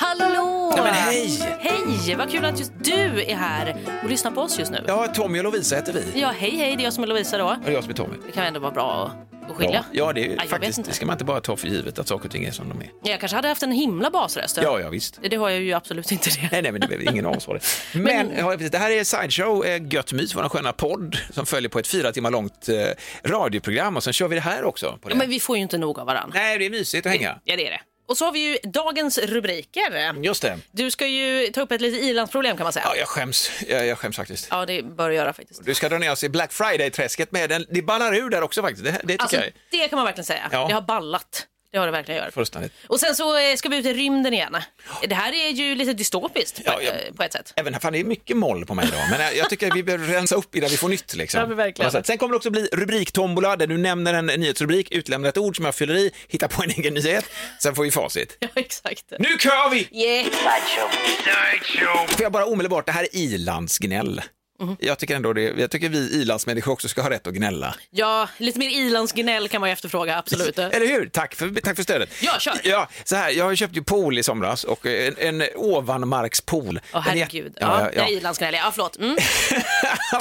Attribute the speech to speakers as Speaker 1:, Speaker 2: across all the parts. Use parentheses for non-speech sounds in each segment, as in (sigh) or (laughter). Speaker 1: Hallå!
Speaker 2: men hej!
Speaker 1: Hej! Vad kul att just du är här och lyssnar på oss just nu.
Speaker 2: Ja, Tommy och Lovisa heter vi.
Speaker 1: Ja, hej hej, det är jag som är Lovisa då.
Speaker 2: Och jag som är Tommy.
Speaker 1: Det kan ändå vara bra att- att skilja.
Speaker 2: Ja, ja, det är ju
Speaker 1: jag vet
Speaker 2: faktiskt,
Speaker 1: inte.
Speaker 2: det ska man inte bara ta för givet att saker och ting är som de är.
Speaker 1: Jag kanske hade haft en himla basröst.
Speaker 2: Ja, ja visst.
Speaker 1: Det har jag ju absolut inte det.
Speaker 2: Nej, nej, men det är ingen av oss var
Speaker 1: (laughs)
Speaker 2: det. Men, ja, precis, det här är Sideshow, eh, Gött mys, vår sköna podd som följer på ett fyra timmar långt eh, radioprogram och sen kör vi det här också. På det.
Speaker 1: Ja, men vi får ju inte nog av varandra.
Speaker 2: Nej, det är mysigt att hänga.
Speaker 1: Ja, det är det. Och så har vi ju dagens rubriker.
Speaker 2: Just det.
Speaker 1: Du ska ju ta upp ett litet ilandsproblem kan man säga.
Speaker 2: Ja, jag skäms. Jag, jag skäms faktiskt.
Speaker 1: Ja, det bör du göra faktiskt.
Speaker 2: Du ska dra ner oss i Black Friday-träsket med den. Det ballar ur där också faktiskt. Det, det tycker
Speaker 1: Alltså,
Speaker 2: jag är
Speaker 1: det kan man verkligen säga.
Speaker 2: Ja.
Speaker 1: Det har ballat. Det har det verkligen gjort.
Speaker 2: fullständigt.
Speaker 1: Och sen så eh, ska vi ut i rymden igen. Det här är ju lite dystopiskt på,
Speaker 2: Ja, jag-
Speaker 1: eh, på ett sätt.
Speaker 2: Även fan, det är mycket moll på mig idag, men jag- jag tycker att vi behöver rensa upp innan vi får nytt. Liksom.
Speaker 1: Ja, men verkligen.
Speaker 2: På något sätt. Sen kommer det också bli rubriktombola där du nämner en nyhetsrubrik, utlämnar ett ord som jag fyller i, hittar på en egen nyhet, sen får vi facit.
Speaker 1: (laughs) Ja, exakt.
Speaker 2: Nu kör vi!
Speaker 1: Yeah.
Speaker 2: Får jag bara omedelbart, det här är ilandsgnäll.
Speaker 1: Mhm.
Speaker 2: Jag tycker ändå det, jag tycker vi ilandsmänniskor också ska ha rätt att gnälla.
Speaker 1: Ja, lite mer ilandsgnäll kan man ju efterfråga,
Speaker 2: (laughs)
Speaker 1: absolut.
Speaker 2: Eller hur? Tack för, tack för stödet.
Speaker 1: Ja, kör.
Speaker 2: Ja, så här, jag köpte ju pool i somras och en, en ovanmarkspool.
Speaker 1: Åh
Speaker 2: Den är-
Speaker 1: herregud. Ja,
Speaker 2: Ja, ja,
Speaker 1: Det är
Speaker 2: (laughs) ja.
Speaker 1: ilandsgnäll, ja förlåt. Mm.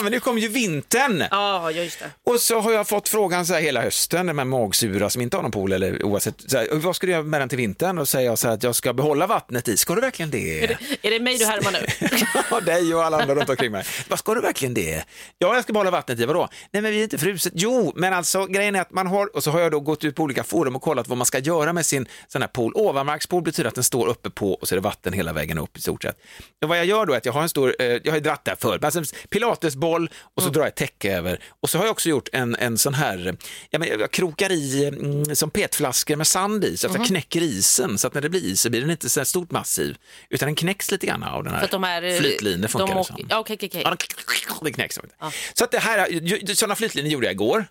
Speaker 2: men nu kom ju vintern.
Speaker 1: Ja, ja, just det.
Speaker 2: Och så har jag fått frågan så här hela hösten, de här magsura som inte har någon pool eller oavsett, så här, vad ska du göra med den till vintern? Och säger jag så här att jag ska behålla vattnet i, ska du verkligen det?
Speaker 1: Är det mig du härmar nu?
Speaker 2: (laughs) och dig och alla andra runt omkring mig. Vad ska du verkligen det? Ja, jag ska behålla vattnet i, vadå? Nej, men vi är inte fruset. Jo, men alltså grejen är att man har, och så har jag då gått ut på olika forum och kollat vad man ska göra med sin sån här pool. Ovanmarkspool betyder att den står uppe på och så är det vatten hela vägen upp i stort sett. Och vad jag gör då är att jag har en stor, eh, jag har ju dratt där förr, men alltså, pilatesboll och så drar jag ett täcke över. Och så har jag också gjort en, en sån här, eh, ja, men jag krokar i mm, som petflaskor med sand i, så att jag knäcker isen, så att när det blir is så blir den inte så här stort massiv, utan den knäcks lite grann av den här
Speaker 1: För att de här... eh,
Speaker 2: flytlinjer funkar
Speaker 1: de
Speaker 2: det
Speaker 1: åker-
Speaker 2: som.
Speaker 1: Ja, okej, okej,
Speaker 2: Ja,
Speaker 1: okej.
Speaker 2: de- det knäcks. Så att det här, ju- sådana flytlinjer gjorde jag igår.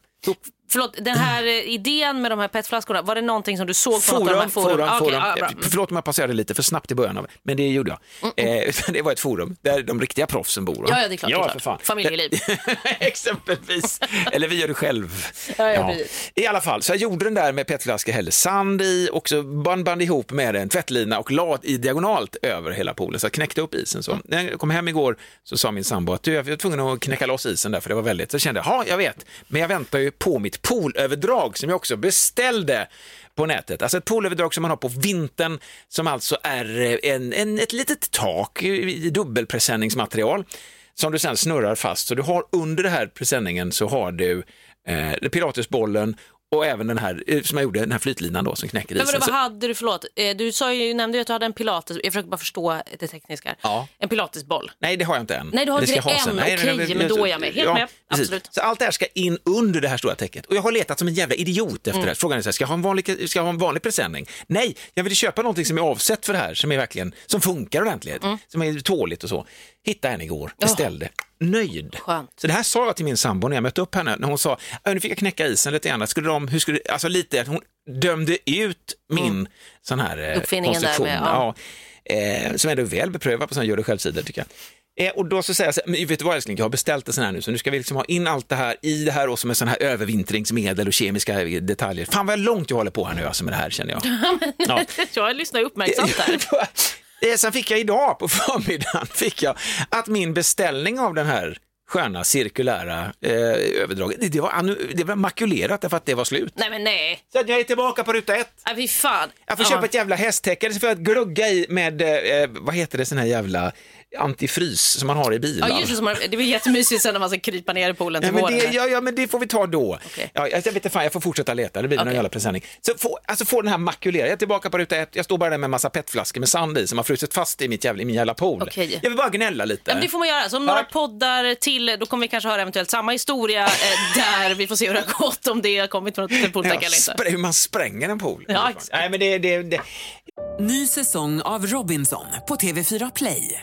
Speaker 1: Förlåt, den här eh, idén med de här petflaskorna, var det någonting som du såg på något av de här
Speaker 2: Forum, forum,
Speaker 1: Ja, okej,
Speaker 2: forum.
Speaker 1: ja, bra. Mm.
Speaker 2: Eh, Förlåt om jag passerade lite för snabbt i början, av, men det gjorde jag. Eh, (laughs) utan det var ett forum där de riktiga proffsen bor. va?
Speaker 1: Ja, ja, det är klart, det är
Speaker 2: Ja,
Speaker 1: klart.
Speaker 2: för fan.
Speaker 1: Familjeliv.
Speaker 2: (laughs) Exempelvis. Eller vi gör det själv.
Speaker 1: Ja, ja, precis.
Speaker 2: I alla fall, så jag gjorde den där med petflaska, hällde sand i och så band, band ihop med en tvättlina och la i diagonalt över hela poolen, så jag knäckte upp isen. Så. När jag kom hem igår så sa min sambo att du, jag var tvungen att knäcka loss isen där för det var väldigt, så jag kände, ja jag vet, men jag väntar ju på mitt poolöverdrag som jag också beställde på nätet. Alltså ett poolöverdrag som man har på vintern som alltså är en, en, ett litet tak i i dubbelpresenningsmaterial som du sen snurrar fast. Så du har under det här presenningen så har du eh, pilatesbollen och även den här, eh, som jag gjorde, den här flytlinan då som knäcker
Speaker 1: Men vadå,
Speaker 2: isen.
Speaker 1: vad
Speaker 2: Så,
Speaker 1: hade du, förlåt, eh, du sa ju, nämnde ju att du hade en pilates, jag försöker bara förstå det tekniska. här.
Speaker 2: Ja.
Speaker 1: En pilatesboll. (laughs)
Speaker 2: nej, det har jag inte än.
Speaker 1: Nej, du har
Speaker 2: Det
Speaker 1: inte
Speaker 2: ska
Speaker 1: det
Speaker 2: jag ha sen.
Speaker 1: än.
Speaker 2: Nej,
Speaker 1: Okej,
Speaker 2: nej,
Speaker 1: men då är jag med. Helt med.
Speaker 2: precis.
Speaker 1: Absolut.
Speaker 2: Så allt det här ska in under det här stora täcket. Och jag har letat som en jävla idiot efter
Speaker 1: Mm.
Speaker 2: det här. Frågan är så här, ska jag ha en vanlig, ska jag ha en vanlig presenning? Nej, jag ville köpa någonting som är avsett för det här, som är verkligen, som funkar ordentligt,
Speaker 1: Mm.
Speaker 2: som är tåligt och så. Hittade en igår, beställde. Nöjd.
Speaker 1: Skönt.
Speaker 2: Så det här sa jag till min sambo när jag mötte upp henne, när hon sa, "Ja, nu fick jag knäcka isen lite grann, skulle de, hur skulle, alltså lite, att hon dömde ut min
Speaker 1: Mm.
Speaker 2: sån här eh,
Speaker 1: Uppfinningen där
Speaker 2: konstruktion.
Speaker 1: med, ja.
Speaker 2: ja. eh, som ändå är väl beprövad på sån här gör det självsidor tycker jag. Eh, och då så säger jag så här, men vet du vad älskling, jag har beställt en sån här nu, så nu ska vi liksom ha in allt det här i det här och som en sån här övervintringsmedel och kemiska detaljer. Fan vad långt jag håller på här nu alltså med det här känner
Speaker 1: (laughs)
Speaker 2: jag. Ja.
Speaker 1: Jag lyssnar ju uppmärksamt
Speaker 2: (laughs)
Speaker 1: här.
Speaker 2: Eh, Sen fick jag idag på (laughs) förmiddagen fick jag att min beställning av den här sköna cirkulära eh, överdraget, det- det var, annu- det var makulerat därför att det var slut.
Speaker 1: Nej men nej,
Speaker 2: Så att jag är tillbaka på ruta ett.
Speaker 1: äh, fy fan.
Speaker 2: Jag får
Speaker 1: Ja.
Speaker 2: köpa ett jävla hästtäcke, så får jag glugga i med, eh, vad heter det, sån här jävla antifrys som man har i bilar.
Speaker 1: Ja, just det, som man, det blir jättemysigt sen när man ska krypa ner i poolen till
Speaker 2: Ja men,
Speaker 1: våren.
Speaker 2: det, ja, ja, men det får vi ta då.
Speaker 1: Okej.
Speaker 2: Ja, jag, jag vet inte, fan, jag får fortsätta leta, det blir någon
Speaker 1: Okej.
Speaker 2: jävla presenning. Så få, alltså få den här makulerad, jag är tillbaka på ruta ett, jag står bara där med en massa petflaskor med sand i som har frusit fast i, mitt jävla, i min jävla pool.
Speaker 1: Okej.
Speaker 2: Jag vill bara gnälla lite.
Speaker 1: Ja, men det får man göra. Så om några poddar till, då kommer vi kanske höra eventuellt samma historia eh, där. Vi får se hur det har gått, om det har kommit från ett
Speaker 2: Ja,
Speaker 1: pooltäcke eller inte.
Speaker 2: spr- hur man spränger en pool.
Speaker 1: Ja, exakt.
Speaker 2: Nej, men det, det, det.
Speaker 3: Ny säsong av Robinson på TV4 Play.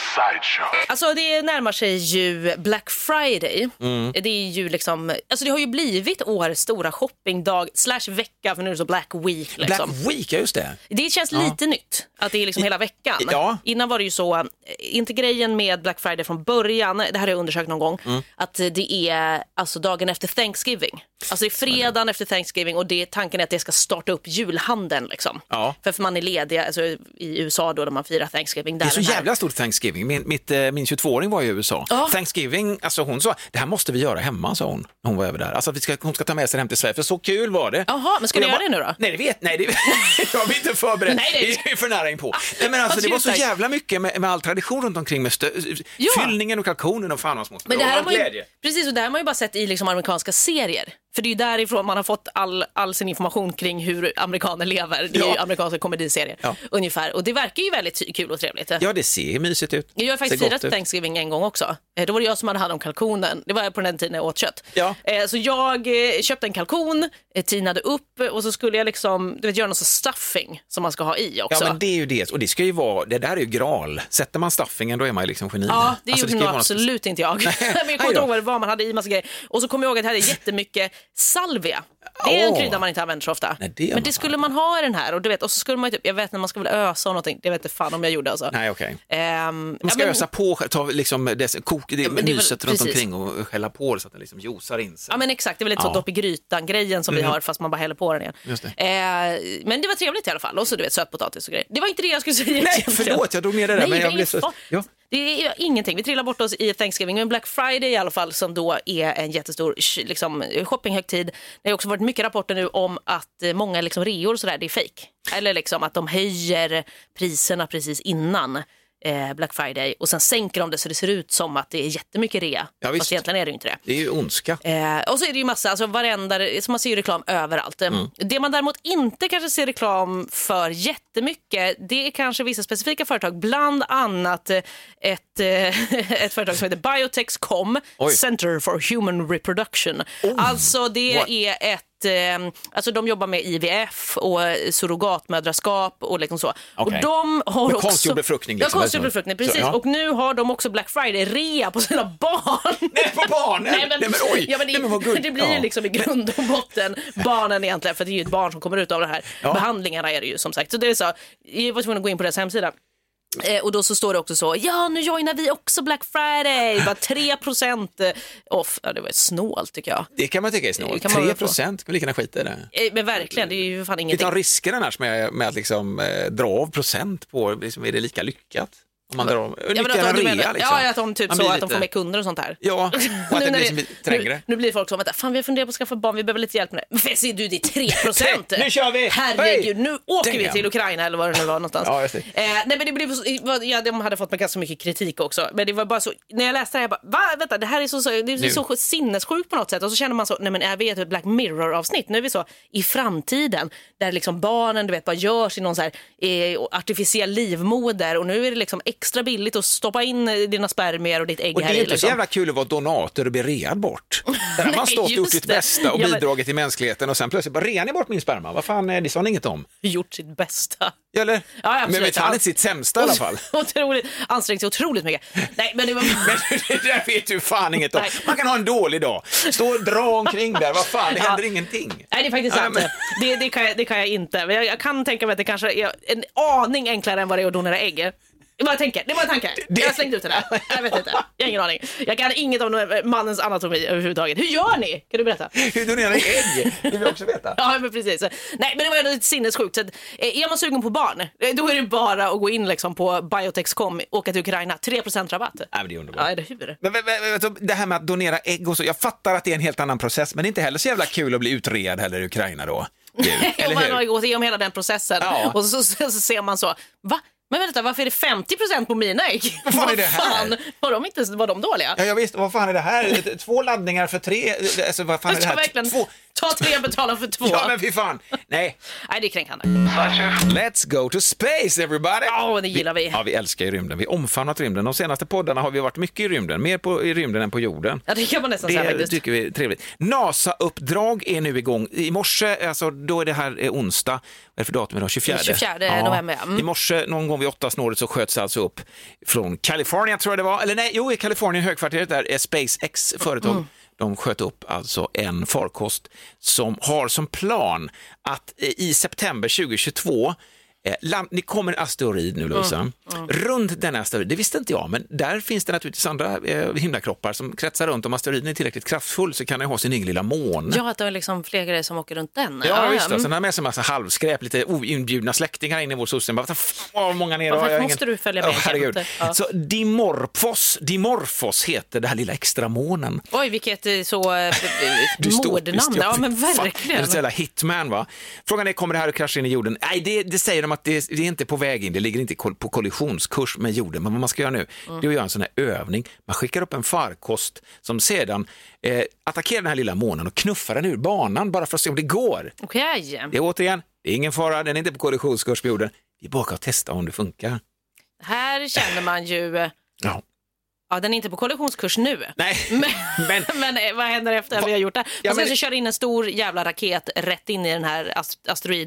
Speaker 1: Alltså det närmar sig ju Black Friday.
Speaker 2: Mm.
Speaker 1: Det är ju liksom, alltså det har ju blivit årets stora shoppingdag slash vecka för nu är det så Black Week. Liksom.
Speaker 2: Black Week, ja just det.
Speaker 1: Det känns lite nytt, att det är liksom hela veckan.
Speaker 2: Ja.
Speaker 1: Innan var det ju så, eh, inte grejen med Black Friday från början, det här har jag undersökt någon gång,
Speaker 2: Mm.
Speaker 1: att eh, det är alltså dagen efter Thanksgiving. Alltså det är fredagen efter Thanksgiving och det, tanken är att det ska starta upp julhandeln. Liksom.
Speaker 2: Ja.
Speaker 1: För, för man är lediga alltså, i USA då när man firar Thanksgiving. Där
Speaker 2: Det är så
Speaker 1: den här-
Speaker 2: jävla stort Thanksgiving. Min, mitt, eh, min 22-åring var i USA. Thanksgiving, alltså hon sa, det här måste vi göra hemma, sa hon, när hon var över där. Alltså att vi ska, hon ska ta med sig det hem till Sverige, för så kul var det.
Speaker 1: Jaha, men ska
Speaker 2: Och
Speaker 1: ni
Speaker 2: jag
Speaker 1: göra
Speaker 2: bara,
Speaker 1: det nu då?
Speaker 2: Nej, det vet (laughs) nej, det, jag blir inte förberedd.
Speaker 1: Nej,
Speaker 2: det
Speaker 1: det-
Speaker 2: är ju för nära inpå. Nej, men alltså,
Speaker 1: vad
Speaker 2: det var så
Speaker 1: trevligt.
Speaker 2: jävla mycket med, med all tradition runt omkring med stö-
Speaker 1: Ja.
Speaker 2: fyllningen och kalkonen och fan vad smått.
Speaker 1: Men det här, har
Speaker 2: Och
Speaker 1: man ju,
Speaker 2: glädje.
Speaker 1: precis, och det här har man ju bara sett i liksom amerikanska serier. För det är ju därifrån man har fått all, all sin information kring hur amerikaner lever. Det är
Speaker 2: Ja.
Speaker 1: ju amerikanska komediserier
Speaker 2: Ja.
Speaker 1: ungefär. Och det verkar ju väldigt ty- kul och trevligt.
Speaker 2: Ja, det ser mysigt ut.
Speaker 1: Jag har faktiskt
Speaker 2: Ser gott
Speaker 1: firat
Speaker 2: ut.
Speaker 1: Thanksgiving en gång också. Eh, Då var det jag som hade hand om kalkonen. Det var på den tiden jag åt kött.
Speaker 2: Ja.
Speaker 1: Eh, Så jag eh, köpte en kalkon, eh, tinade upp eh, och så skulle jag liksom, du vet, göra någon sorts stuffing som man ska ha i
Speaker 2: Ja,
Speaker 1: också.
Speaker 2: men det är ju det. Och det ska ju vara, det där är ju graal. Sätter man staffingen, då är man ju liksom genin.
Speaker 1: Ja,
Speaker 2: Alltså,
Speaker 1: det gjorde
Speaker 2: ska ju
Speaker 1: nog
Speaker 2: vara något speciellt.
Speaker 1: absolut inte jag. (laughs) men jag
Speaker 2: Aj
Speaker 1: kommer
Speaker 2: då.
Speaker 1: inte ihåg vad det var, man hade i massa grejer. Och så kommer jag ihåg att jag hade jättemycket salvia. Det är en
Speaker 2: Åh.
Speaker 1: krydda man inte använder så ofta.
Speaker 2: Nej, det gör
Speaker 1: men
Speaker 2: man
Speaker 1: det skulle man ha i den här. Och, du vet, och så skulle man ju typ, jag vet när man ska väl ösa och någonting, det vet inte fan om jag gjorde alltså.
Speaker 2: Nej, okej.
Speaker 1: Ehm,
Speaker 2: Man
Speaker 1: ja,
Speaker 2: ska
Speaker 1: men-
Speaker 2: ösa på, ta liksom dess, kok, det,
Speaker 1: men det är väl-
Speaker 2: myset runt
Speaker 1: precis.
Speaker 2: omkring och skälla på det så att den liksom josar in sig.
Speaker 1: Ja men exakt, det är väl lite
Speaker 2: Ja. Mm.
Speaker 1: så dopp i grytan-grejen som vi har fast man bara häller på den igen.
Speaker 2: Just det.
Speaker 1: Eh, men det var trevligt i alla fall. Och så du vet sötpotatis och grejer. Det var inte det jag skulle säga
Speaker 2: Nej,
Speaker 1: egentligen.
Speaker 2: förlåt, jag drog ner det där,
Speaker 1: Nej,
Speaker 2: men
Speaker 1: det
Speaker 2: jag
Speaker 1: är
Speaker 2: blev
Speaker 1: ingen
Speaker 2: så-
Speaker 1: fara.
Speaker 2: Ja.
Speaker 1: Det är ingenting. Vi trillar bort oss i Thanksgiving, men Black Friday i alla fall som då är en jättestor sh- liksom, shoppinghögtid. Det har också varit mycket rapporter nu om att eh, många liksom, reor och sådär, det är fake. Eller liksom att de höjer priserna precis innan eh, Black Friday och sen sänker de det så det ser ut som att det är jättemycket rea.
Speaker 2: Ja, visst.
Speaker 1: fast egentligen är det ju inte det.
Speaker 2: Det är ju ondska.
Speaker 1: Eh, och så är det ju massa, alltså varenda, så man ser ju reklam överallt. Eh,
Speaker 2: Mm.
Speaker 1: Det man däremot inte kanske ser reklam för jättemycket, det är kanske vissa specifika företag, bland annat eh, ett, eh, (laughs) ett företag som heter Biotexcom,
Speaker 2: Oj.
Speaker 1: Center for Human Reproduction. alltså det
Speaker 2: what?
Speaker 1: är ett eh, Alltså de jobbar med IVF och eh, surrogatmödraskap och liksom så.
Speaker 2: Okej.
Speaker 1: Och de har
Speaker 2: Men
Speaker 1: också...
Speaker 2: konstgjord befruktning
Speaker 1: Ja,
Speaker 2: liksom,
Speaker 1: konstgjord
Speaker 2: eller så.
Speaker 1: befruktning,
Speaker 2: Så,
Speaker 1: precis.
Speaker 2: ja.
Speaker 1: Och nu har de också Black Friday-rea på sina (laughs) barn.
Speaker 2: Nej, (laughs) på barnen!
Speaker 1: Nej men,
Speaker 2: Nej, men oj!
Speaker 1: Ja, men det,
Speaker 2: Nej, men vad gulligt.
Speaker 1: det blir
Speaker 2: Ja.
Speaker 1: ju liksom i grund och botten barnen egentligen, för det är ju ett barn som kommer ut av det här.
Speaker 2: Ja.
Speaker 1: Behandlingarna är det ju som sagt. Så det är så, jag var tvungen att gå in på deras hemsida. Eh, och då så står det också så, ja nu joinar vi också Black Friday, bara 3% off. Ja, det var snålt tycker jag.
Speaker 2: Det kan man tycka är snålt.
Speaker 1: Det kan man
Speaker 2: 3
Speaker 1: väl få.
Speaker 2: procent, kan lika gärna skita i det.
Speaker 1: Eh, men verkligen, det är ju fan
Speaker 2: Vi
Speaker 1: ingenting.
Speaker 2: tar risker annars med, med att liksom, eh, dra av procent på, liksom, är det lika lyckat? Om man drar av,
Speaker 1: Ja, men
Speaker 2: lycka
Speaker 1: att,
Speaker 2: en
Speaker 1: du
Speaker 2: rea
Speaker 1: menar,
Speaker 2: liksom.
Speaker 1: ja, att de typ
Speaker 2: Man
Speaker 1: så,
Speaker 2: blir
Speaker 1: att de
Speaker 2: lite-
Speaker 1: får mer kunder och sånt här.
Speaker 2: Ja,
Speaker 1: (laughs)
Speaker 2: och att det
Speaker 1: när
Speaker 2: blir som lite
Speaker 1: nu,
Speaker 2: trängre.
Speaker 1: nu blir folk som att fan vi har funderat på att skaffa barn, vi behöver lite hjälp med det. Men ser du det är 3 procent!
Speaker 2: (laughs) Nu kör vi!
Speaker 1: Herregud,
Speaker 2: Hej!
Speaker 1: nu åker vi
Speaker 2: Damn.
Speaker 1: till Ukraina eller vad det nu var någonstans.
Speaker 2: Ja, just det.
Speaker 1: Eh, nej men det blev, så- vad- ja, de hade fått mig ganska mycket kritik också. Men det var bara så, när jag läste det här, jag bara, va? Vänta, det här är så, så, det är
Speaker 2: Nu.
Speaker 1: så sinnessjukt på något sätt. Och så känner man så, nej men är vi i ett Black Mirror-avsnitt? Nu är vi så i framtiden, där liksom barnen du vet bara görs i någon så här eh, artificiell livmoder och nu är det liksom extra billigt att stoppa in eh, dina spermier och ditt ägg
Speaker 2: Och det
Speaker 1: här
Speaker 2: är
Speaker 1: i,
Speaker 2: ju inte så
Speaker 1: liksom.
Speaker 2: jävla kul att vara donator och bli read
Speaker 1: (laughs)
Speaker 2: bort. Där har man stått och gjort
Speaker 1: just
Speaker 2: sitt
Speaker 1: det.
Speaker 2: bästa och
Speaker 1: Ja, men-
Speaker 2: bidragit till mänskligheten och sen plötsligt bara rear ni bort min sperma. Vad fan, eh, det sa ni inget om.
Speaker 1: gjort sitt bästa.
Speaker 2: Eller?
Speaker 1: Ja, absolut.
Speaker 2: Men vet han inte sitt sämsta i alla fall?
Speaker 1: (laughs) Otroligt, ansträngt sig otroligt mycket. Nej, men det var...
Speaker 2: (laughs) Men det där vet du fan inget om.
Speaker 1: Nej.
Speaker 2: Man kan ha en dålig dag, stå och dra omkring där, vad fan, det händer ingenting.
Speaker 1: Nej, det är faktiskt
Speaker 2: Ja,
Speaker 1: sant.
Speaker 2: men-
Speaker 1: Det, det, kan jag, det kan jag inte. Men jag, jag kan tänka mig att det kanske är en aning enklare än vad det är att donera ägg. Det var en tanke. Det var en tanke. Jag har slängt ut det där. Jag vet inte. Jag har ingen aning. Jag kan inget om mannens anatomi överhuvudtaget. Hur gör ni? Kan du berätta? (laughs)
Speaker 2: Hur donerar ni ägg? Det vill vi också veta.
Speaker 1: Ja, men precis. Nej, men det var ändå lite sinnessjukt. Så att, eh, är man sugen på barn, eh, då är det bara att gå in liksom, på Biotex.com, åka till Ukraina, 3% rabatt.
Speaker 2: Ja, men det är underbart.
Speaker 1: Ja, eller hur?
Speaker 2: Men, men, men, alltså, det här med att donera ägg och så, jag fattar att det är en helt annan process, men det är inte heller så jävla kul att bli utredd heller i Ukraina
Speaker 1: (laughs)
Speaker 2: då. Du,
Speaker 1: Eller
Speaker 2: eller
Speaker 1: man har ju
Speaker 2: hur?
Speaker 1: gått igenom hela den processen
Speaker 2: Ja.
Speaker 1: och så, så, så ser man så, va? Men vänta, varför är det 50% på mina ägg?
Speaker 2: (laughs) Vad fan är det här?
Speaker 1: Vad fan, var, de inte, var de dåliga?
Speaker 2: Ja, ja, visst, vad fan är det här? Två laddningar för tre? Alltså, vad fan är
Speaker 1: Jag
Speaker 2: det
Speaker 1: ska
Speaker 2: här?
Speaker 1: verkligen
Speaker 2: Två?
Speaker 1: ta tre och betala för två.
Speaker 2: Ja, men fy fan. Nej,
Speaker 1: Nej, det är kränkande.
Speaker 2: Let's go to space everybody!
Speaker 1: Ja, det gillar vi.
Speaker 2: Ja, vi älskar ju rymden. Vi har omfamnat rymden. De senaste poddarna har vi varit mycket i rymden, mer på, i rymden än på jorden.
Speaker 1: Ja, det kan man nästan säga
Speaker 2: Det
Speaker 1: faktiskt.
Speaker 2: tycker vi är trevligt. NASA-uppdrag är nu igång. I morse, alltså, då är det här eh, onsdag, vad är det för datum idag? 24?
Speaker 1: 24 november, ja. Mm.
Speaker 2: I morse någon gång vid åttasnåret så sköts alltså upp från Kalifornien tror jag det var, eller nej, jo i Kalifornien, högkvarteret där, är SpaceX företag. De sköt upp alltså en farkost som har som plan att eh, i september 2022 eh, Land, det kommer en asteroid nu Lovisa. Runt denna asteroid, det visste inte jag, men där finns det naturligtvis andra eh, himlakroppar som kretsar runt. Om asteroiden är tillräckligt kraftfull så kan den ha sin egen lilla mån.
Speaker 1: Ja, att det är liksom fler grejer som åker runt den.
Speaker 2: Ja, visst. alltså.
Speaker 1: mm.
Speaker 2: Sen har jag med sig en massa halvskräp, lite oinbjudna släktingar in i vår sosse. Bara, "Vad fan, Vad många ner
Speaker 1: Varför
Speaker 2: har jag
Speaker 1: måste
Speaker 2: ingen-"
Speaker 1: du följa med?
Speaker 2: Ja, herregud.
Speaker 1: Ja.
Speaker 2: Så dimorfos, dimorfos heter det här lilla extra månen.
Speaker 1: Oj, vilket eh,
Speaker 2: (laughs)
Speaker 1: så eh, mordnamn.
Speaker 2: Dystopiskt,
Speaker 1: Ja, men
Speaker 2: fy fan. Det är
Speaker 1: verkligen.
Speaker 2: så jävla hitman va. Frågan är, kommer det här att krascha in i jorden? Nej, det, det säger de att det, det är inte på väg in, det ligger inte kol- på kollisionskurs med jorden. Men vad man ska göra nu, det är att göra en sån här övning. Man skickar upp en farkost som sedan eh, attackerar den här lilla månen och knuffar den ur banan bara för att se om det går.
Speaker 1: Okej.
Speaker 2: Det är återigen, det är ingen fara, den är inte på kollisionskurs med jorden. Vi bara ska testa om det funkar.
Speaker 1: Här känner man ju... eh,
Speaker 2: Ja.
Speaker 1: Ja, den är inte på kollisionskurs nu.
Speaker 2: Nej,
Speaker 1: Men,
Speaker 2: (laughs) men
Speaker 1: (laughs) men eh, vad händer efter att vi har gjort det?
Speaker 2: Ja,
Speaker 1: Man ska
Speaker 2: men-
Speaker 1: alltså köra in en stor jävla raket rätt in i den här ast-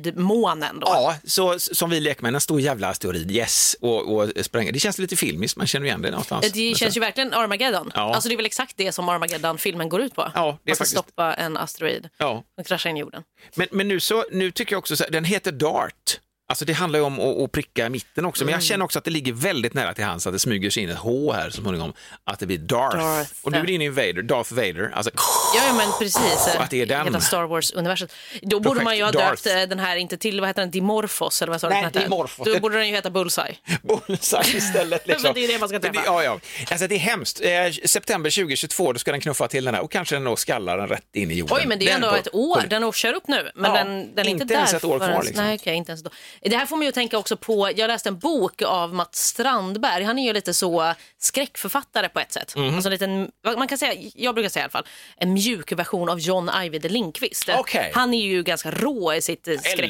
Speaker 1: asteroidmånen då.
Speaker 2: ja, så, som vi lekmän, en stor jävla asteroid, yes, och, och spränga. Det känns lite filmiskt, man känner igen det någonstans.
Speaker 1: Eh, Det känns ju verkligen Armageddon.
Speaker 2: Ja.
Speaker 1: Alltså det är väl exakt det som Armageddon-filmen går ut på.
Speaker 2: Ja, det är
Speaker 1: Man ska
Speaker 2: faktiskt-
Speaker 1: stoppa en asteroid
Speaker 2: Ja.
Speaker 1: som kraschar in i jorden.
Speaker 2: Men, men nu, så, nu tycker jag också, så här, den heter Dart. Alltså det handlar ju om att, att pricka i mitten också, men
Speaker 1: Mm.
Speaker 2: jag känner också att det ligger väldigt nära till hands att det smyger sig in ett H här så småningom, att det blir Darth.
Speaker 1: Darth.
Speaker 2: Och nu är det inne i Vader, Darth Vader. Alltså,
Speaker 1: Ja, ja, men precis.
Speaker 2: Att det är den.
Speaker 1: Hela Star Wars-universet. Då borde
Speaker 2: Projekt
Speaker 1: man ju ha
Speaker 2: Darth.
Speaker 1: döpt eh, den här, inte till, vad heter den, Dimorphos eller vad sa du
Speaker 2: Nej,
Speaker 1: den hette?
Speaker 2: Dimorphos.
Speaker 1: Då borde den ju heta Bullseye.
Speaker 2: bullseye istället. Liksom.
Speaker 1: (laughs) Men det är det man ska träffa.
Speaker 2: Det- Ja, ja. Alltså, det är hemskt. Eh, september 2022, då ska den knuffa till den här och kanske den då skallar den rätt in i jorden.
Speaker 1: Oj, men det är ändå
Speaker 2: på-
Speaker 1: ett år.
Speaker 2: på-
Speaker 1: Den kör upp nu, men
Speaker 2: Ja,
Speaker 1: den, den är inte,
Speaker 2: inte
Speaker 1: där.
Speaker 2: ens ett år
Speaker 1: förrän-
Speaker 2: kvar, liksom.
Speaker 1: Nej, okej, inte ens då. Det här får mig att tänka också på, jag läste en bok av Mats Strandberg. Han är ju lite så skräckförfattare på ett sätt.
Speaker 2: Mhm.
Speaker 1: Alltså en liten, vad man kan säga, jag brukar säga i alla fall, en mjuk version av John Ajvide Lindqvist.
Speaker 2: Okej.
Speaker 1: Han är ju ganska rå i sitt eh,
Speaker 2: Älskar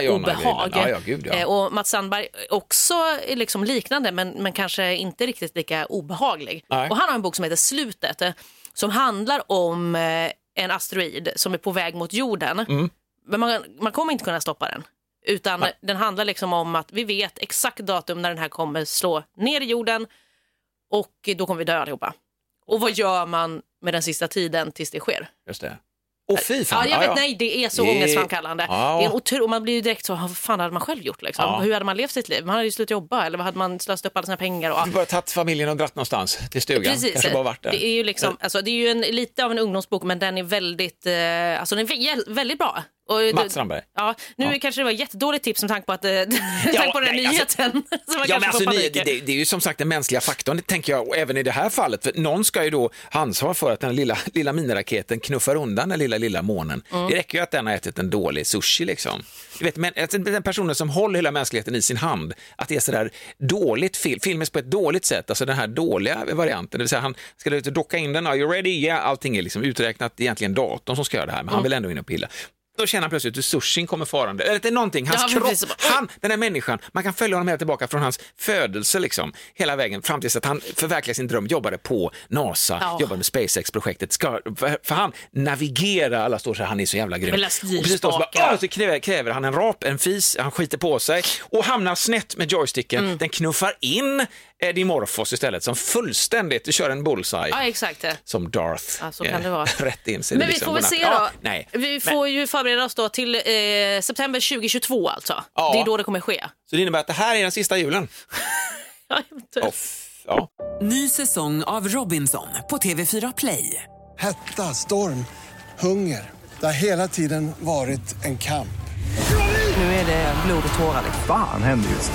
Speaker 2: John
Speaker 1: skräckobehag.
Speaker 2: Ajvide. Ja, ja, gud, ja.
Speaker 1: Eh, Och Mats Sandberg också är liksom liknande men, men kanske inte riktigt lika obehaglig.
Speaker 2: Nej.
Speaker 1: Och han har en bok som heter Slutet eh, som handlar om eh, en asteroid som är på väg mot jorden. Men man, man kommer inte kunna stoppa den. Utan den handlar liksom om att vi vet exakt datum när den här kommer slå ner i jorden och då kommer vi dö allihopa. Och vad gör man med den sista tiden tills det sker?
Speaker 2: Just det. Åh fy
Speaker 1: Ja,
Speaker 2: fan.
Speaker 1: jag vet,
Speaker 2: Ja, ja.
Speaker 1: nej, det är så
Speaker 2: Det-
Speaker 1: ångestframkallande.
Speaker 2: Ja.
Speaker 1: Det är en otro, och man blir ju direkt så, vad fan hade man själv gjort? Liksom?
Speaker 2: Ja.
Speaker 1: Hur hade man levt sitt liv? Man hade ju slutat jobba eller vad hade man slösat upp alla sina pengar? Och...
Speaker 2: (laughs) Du bara tagit familjen och dratt någonstans till stugan. Kanske bara varit där.
Speaker 1: Det är ju, liksom, alltså, det är ju en, lite av en ungdomsbok men den är väldigt, eh, alltså, den är vä- väldigt bra. Och, det-
Speaker 2: Mats Strandberg.
Speaker 1: Ja, nu kanske det var ett jättedåligt tips med tanke på, att, eh, (laughs) tanke på den
Speaker 2: nej, alltså-
Speaker 1: nyheten. (laughs) så man
Speaker 2: Ja, men
Speaker 1: kanske får
Speaker 2: alltså, ni,
Speaker 1: panik.
Speaker 2: det, det det är ju som sagt den mänskliga faktorn, det tänker jag, och även i det här fallet. För någon ska ju då ha ansvar för att den lilla, lilla miniraketen knuffar undan den lilla, lilla månen.
Speaker 1: Mm.
Speaker 2: Det räcker ju att den har ätit en dålig sushi. Liksom. Du vet, men, alltså, den personen som håller hela mänskligheten i sin hand, att det är sådär dåligt film, filmes på ett dåligt sätt, alltså den här dåliga varianten, det vill säga han ska ut och docka in den, are you ready? Yeah, allting är liksom uträknat, det är egentligen datorn som ska göra det här, men
Speaker 1: Mm.
Speaker 2: han vill ändå in och pilla. Då känner han plötsligt hur sushin kommer farande. Eller det är någonting, hans
Speaker 1: Ja, men
Speaker 2: kropp,
Speaker 1: precis.
Speaker 2: han, den här människan, man kan följa honom hela tillbaka från hans födelse liksom, hela vägen fram tills att han förverkligade sin dröm, jobbade på NASA,
Speaker 1: Ja.
Speaker 2: jobbade med SpaceX-projektet. Ska, för, för han navigerar, alla står så här, han är så jävla grym.
Speaker 1: Med lastikspaken.
Speaker 2: Och precis då så, bara, "Åh!" så kräver, kräver han en rap, en fis, han skiter på sig och hamnar snett med joysticken.
Speaker 1: Mm.
Speaker 2: Den knuffar in Eddie Morphos istället som fullständigt kör en bullseye.
Speaker 1: Ja, exakt.
Speaker 2: Som Darth. eh,
Speaker 1: Ja, så kan det vara.
Speaker 2: (laughs) Rätt in sig
Speaker 1: Men vi
Speaker 2: liksom
Speaker 1: får väl
Speaker 2: godnatt.
Speaker 1: se
Speaker 2: Ja,
Speaker 1: då.
Speaker 2: nej.
Speaker 1: Vi får ju förbereda oss då till eh, september 2022 alltså.
Speaker 2: Ja.
Speaker 1: Det är då det kommer ske. (laughs)
Speaker 2: Så det innebär att det här är den sista julen.
Speaker 1: Ja, typ.
Speaker 2: Off. Ja.
Speaker 3: Ny säsong av Robinson på TV4 Play.
Speaker 4: Hetta, storm, hunger. Det har hela tiden varit en kamp.
Speaker 3: Nu är det blod och tårar. liksom.
Speaker 5: Fan händer just nu.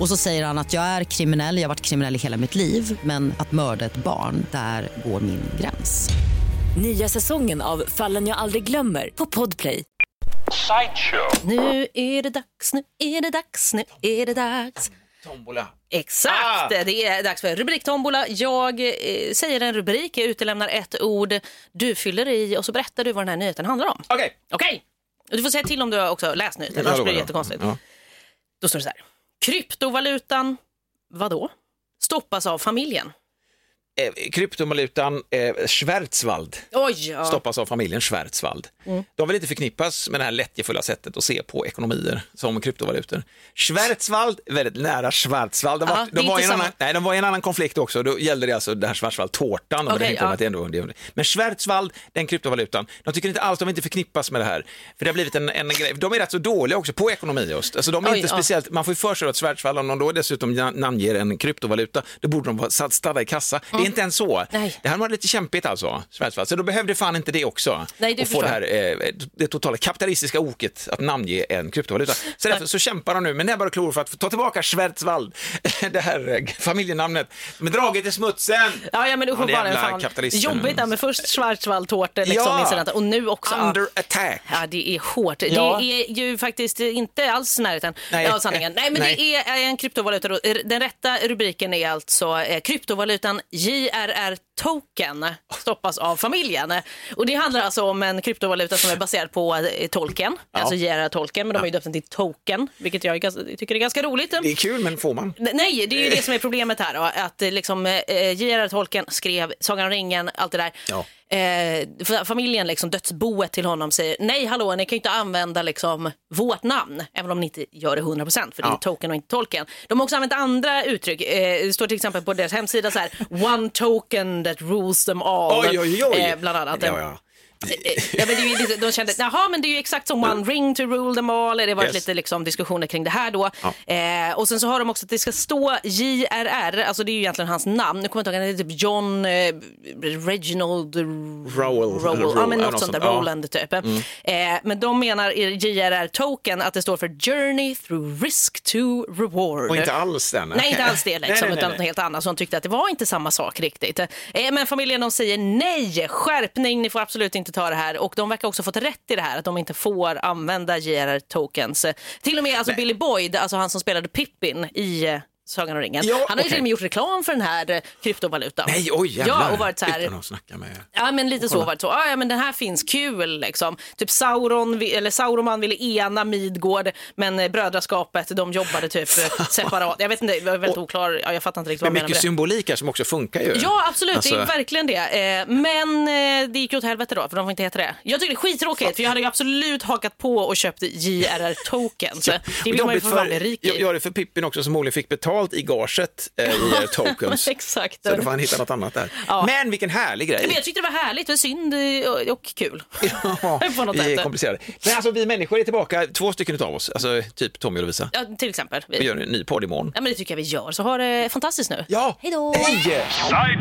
Speaker 6: Och så säger han att jag är kriminell, jag har varit kriminell i hela mitt liv men att mörda ett barn, där går min gräns.
Speaker 7: Nya säsongen av Fallen jag aldrig glömmer på Podplay.
Speaker 1: Nu är det dags, nu är det dags, nu är det dags.
Speaker 2: Tombola.
Speaker 1: Exakt,
Speaker 2: Ah!
Speaker 1: det är dags för rubriktombola. Jag eh, säger en rubrik, jag utelämnar ett ord, du fyller i och så berättar du vad den här nyheten handlar om.
Speaker 2: Okej.
Speaker 1: Okej! Och Du får säga till om du har också läst nyheten,
Speaker 2: Jag
Speaker 1: annars
Speaker 2: lovar,
Speaker 1: blir det
Speaker 2: ja.
Speaker 1: jättekonstigt.
Speaker 2: Ja.
Speaker 1: Då står det så här. Kryptovalutan, vadå? Stoppas av familjen.
Speaker 2: Eh, kryptovalutan eh, Schwarzwald
Speaker 1: Oj! Ja. Mm.
Speaker 2: stoppas av familjen Schwarzwald. De vill inte förknippas med det här lättjefulla sättet att se på ekonomier som kryptovalutor. Schwarzwald, väldigt nära Schwarzwald. De var,
Speaker 1: Ja, det är
Speaker 2: de var, i,
Speaker 1: inte
Speaker 2: en
Speaker 1: samma.
Speaker 2: annan, nej, de var i en annan konflikt också. Då gällde det alltså det här Schwarzwald-tårtan. och
Speaker 1: Okej,
Speaker 2: det ja.
Speaker 1: ja.
Speaker 2: att det ändå, det är- men Schwarzwald, den kryptovalutan, de tycker inte alls, de vill inte förknippas med det här. För det har blivit en, en grej. De är rätt så dåliga också på ekonomi just. Alltså, de är
Speaker 1: Oj,
Speaker 2: inte
Speaker 1: ja.
Speaker 2: speciellt, man får ju för sig att Schwarzwald, om de då dessutom na- namnger en kryptovaluta, då borde de vara satt- stadda i kassa. Det är inte ens så.
Speaker 1: Nej.
Speaker 2: Det här var lite kämpigt alltså, Schwarzwald. Så då behövde fan inte det också.
Speaker 1: Nej, det
Speaker 2: och få det här
Speaker 1: förstår
Speaker 2: eh, det totala kapitalistiska oket att namnge en kryptovaluta. Så därför så kämpar de nu med näbbar och klor för att få ta tillbaka Schwarzwald, (laughs) det här eh, familjenamnet, med draget i smutsen.
Speaker 1: Ja, ja, men usch,
Speaker 2: Ja, det är
Speaker 1: bara en
Speaker 2: jävla
Speaker 1: fan.
Speaker 2: kapitalisten.
Speaker 1: Jobbigt där med först Schwarzwaldtårtor liksom,
Speaker 2: Ja.
Speaker 1: incidenten, och nu också. ja.
Speaker 2: Under attack.
Speaker 1: Ja, det är hårt.
Speaker 2: Ja.
Speaker 1: Det är ju faktiskt inte alls i närheten
Speaker 2: Nej.
Speaker 1: av sanningen. Nej, men
Speaker 2: Nej.
Speaker 1: det är eh, en kryptovaluta. då. Den rätta rubriken är alltså eh, kryptovalutan JRR Token stoppas av familjen. Och det handlar alltså om en kryptovaluta som är baserad på eh, tolken, alltså JRR Tolken, men de har ju döpt den till Token, vilket jag är ganska- tycker är ganska roligt.
Speaker 2: Det är kul, men får man?
Speaker 1: Nej, det är ju det som är problemet här. Då. Att eh, liksom, eh, J.R.R. Tolkien skrev Sagan om ringen, allt det där.
Speaker 2: Ja.
Speaker 1: Eh, fa- familjen, liksom, dödsboet till honom säger nej, hallå, ni kan ju inte använda liksom, vårt namn, även om ni inte gör det 100 procent, för det är
Speaker 2: Ja.
Speaker 1: token och inte tolken. De har också använt andra uttryck. Eh, det står till exempel på deras hemsida så här, (laughs) one token that rules them all.
Speaker 2: Oj, oj, oj!
Speaker 1: Eh, bland annat.
Speaker 2: Ja, ja.
Speaker 1: Eh, Ja, men det är ju lite, de kände, jaha men det är ju exakt som One ring to rule them all. Det har varit
Speaker 2: Yes.
Speaker 1: lite liksom, diskussioner kring det här då. Eh, och sen så har de också att det ska stå JRR, alltså det är ju egentligen hans namn. Nu kommer jag inte ihåg, han heter typ John eh, Reginald
Speaker 2: Rowell, eller
Speaker 1: Rowell. Ja,
Speaker 2: Rowe,
Speaker 1: men
Speaker 2: eller
Speaker 1: något
Speaker 2: något
Speaker 1: sånt där,
Speaker 2: sånt. Ja. Mm.
Speaker 1: Roland typ. Eh, men de menar i JRR token att det står för Journey through risk to reward.
Speaker 2: Och inte alls den.
Speaker 1: Nej, inte alls
Speaker 2: (laughs)
Speaker 1: det, liksom,
Speaker 2: Nej, nej, nej,
Speaker 1: utan
Speaker 2: nej.
Speaker 1: något helt annat. Så de tyckte att det var inte samma sak riktigt. Eh, Men familjen de säger nej, skärpning, ni får absolut inte ta det här. Och de verkar också ha fått rätt i det här, att de inte får använda JRR tokens. Eh, Till och med alltså Billy Boyd, alltså han som spelade Pippin i eh, Sagan om ringen.
Speaker 2: Ja,
Speaker 1: han har ju
Speaker 2: okej.
Speaker 1: till och med gjort reklam för den här eh, kryptovalutan.
Speaker 2: Nej, oj jävlar.
Speaker 1: Ja, och varit så här,
Speaker 2: Utan att snacka med...
Speaker 1: Ja men lite så var det så. Ah, ja men den här finns kul liksom. Typ Sauron, vi- eller Sauroman ville ena Midgård men eh, brödraskapet de jobbade typ
Speaker 2: (laughs)
Speaker 1: eh, separat. Jag vet inte, jag var väldigt oklar. Ja, jag fattar inte riktigt vad
Speaker 2: Men
Speaker 1: jag menar
Speaker 2: mycket
Speaker 1: med det.
Speaker 2: symbolik här som också funkar ju.
Speaker 1: Ja absolut, det är
Speaker 2: Alltså-
Speaker 1: verkligen det. Eh, men eh, det gick ju åt helvete då för de får inte heta det. Jag tycker det är skittråkigt för jag hade ju absolut hakat på och
Speaker 2: (laughs)
Speaker 1: köpt JRR-token. Så det vill man ju
Speaker 2: Jobbigt
Speaker 1: för fan bli rik
Speaker 2: jag,
Speaker 1: i.
Speaker 2: jag är för Pippin också som Olle fick betalt i gaget eh, i eh, tokens.
Speaker 1: (laughs) Exakt.
Speaker 2: Så då får han hitta något annat där.
Speaker 1: Ja.
Speaker 2: Men vilken härlig grej.
Speaker 1: Men jag tyckte det var härligt, det var synd eh, och, och kul.
Speaker 2: (laughs) Ja,
Speaker 1: På något
Speaker 2: vi är
Speaker 1: sätt.
Speaker 2: komplicerade. Men alltså vi människor är tillbaka, två stycken av oss, alltså typ Tommy och Lovisa.
Speaker 1: Ja, till exempel.
Speaker 2: Vi gör en ny podd imorgon.
Speaker 1: Ja, men det tycker jag vi gör, så ha det fantastiskt nu.
Speaker 2: Ja,
Speaker 1: Hej då!
Speaker 2: hej!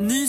Speaker 3: Ny